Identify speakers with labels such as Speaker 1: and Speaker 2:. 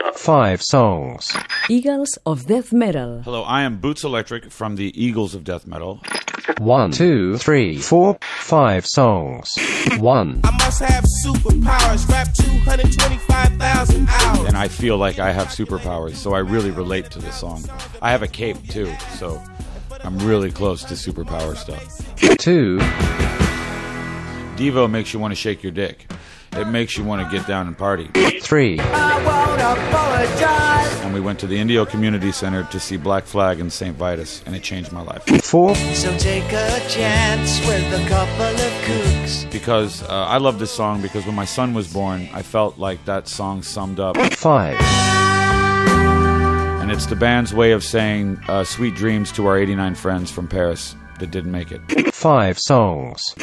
Speaker 1: Top 5 songs.
Speaker 2: Eagles of Death Metal.
Speaker 3: Hello, I am Boots Electric from the Eagles of Death Metal.
Speaker 1: One, two, three, four, five songs. 1.
Speaker 4: I must have superpowers. Rap 225,000 hours.
Speaker 3: And I feel like I have superpowers, so I really relate to this song. I have a cape too, so I'm really close to superpower stuff.
Speaker 1: 2.
Speaker 3: Devo makes you want to shake your dick. It makes you want to get down and party.
Speaker 1: 3.
Speaker 3: And we went to the Indio Community Center to see Black Flag and St. Vitus, and it changed my life.
Speaker 1: 4.
Speaker 5: So take a chance with a couple of kooks.
Speaker 3: Because uh, I love this song because when my son was born, I felt like that song summed up.
Speaker 1: 5.
Speaker 3: And it's the band's way of saying uh, sweet dreams to our 89 friends from Paris that didn't make it.
Speaker 1: 5 songs.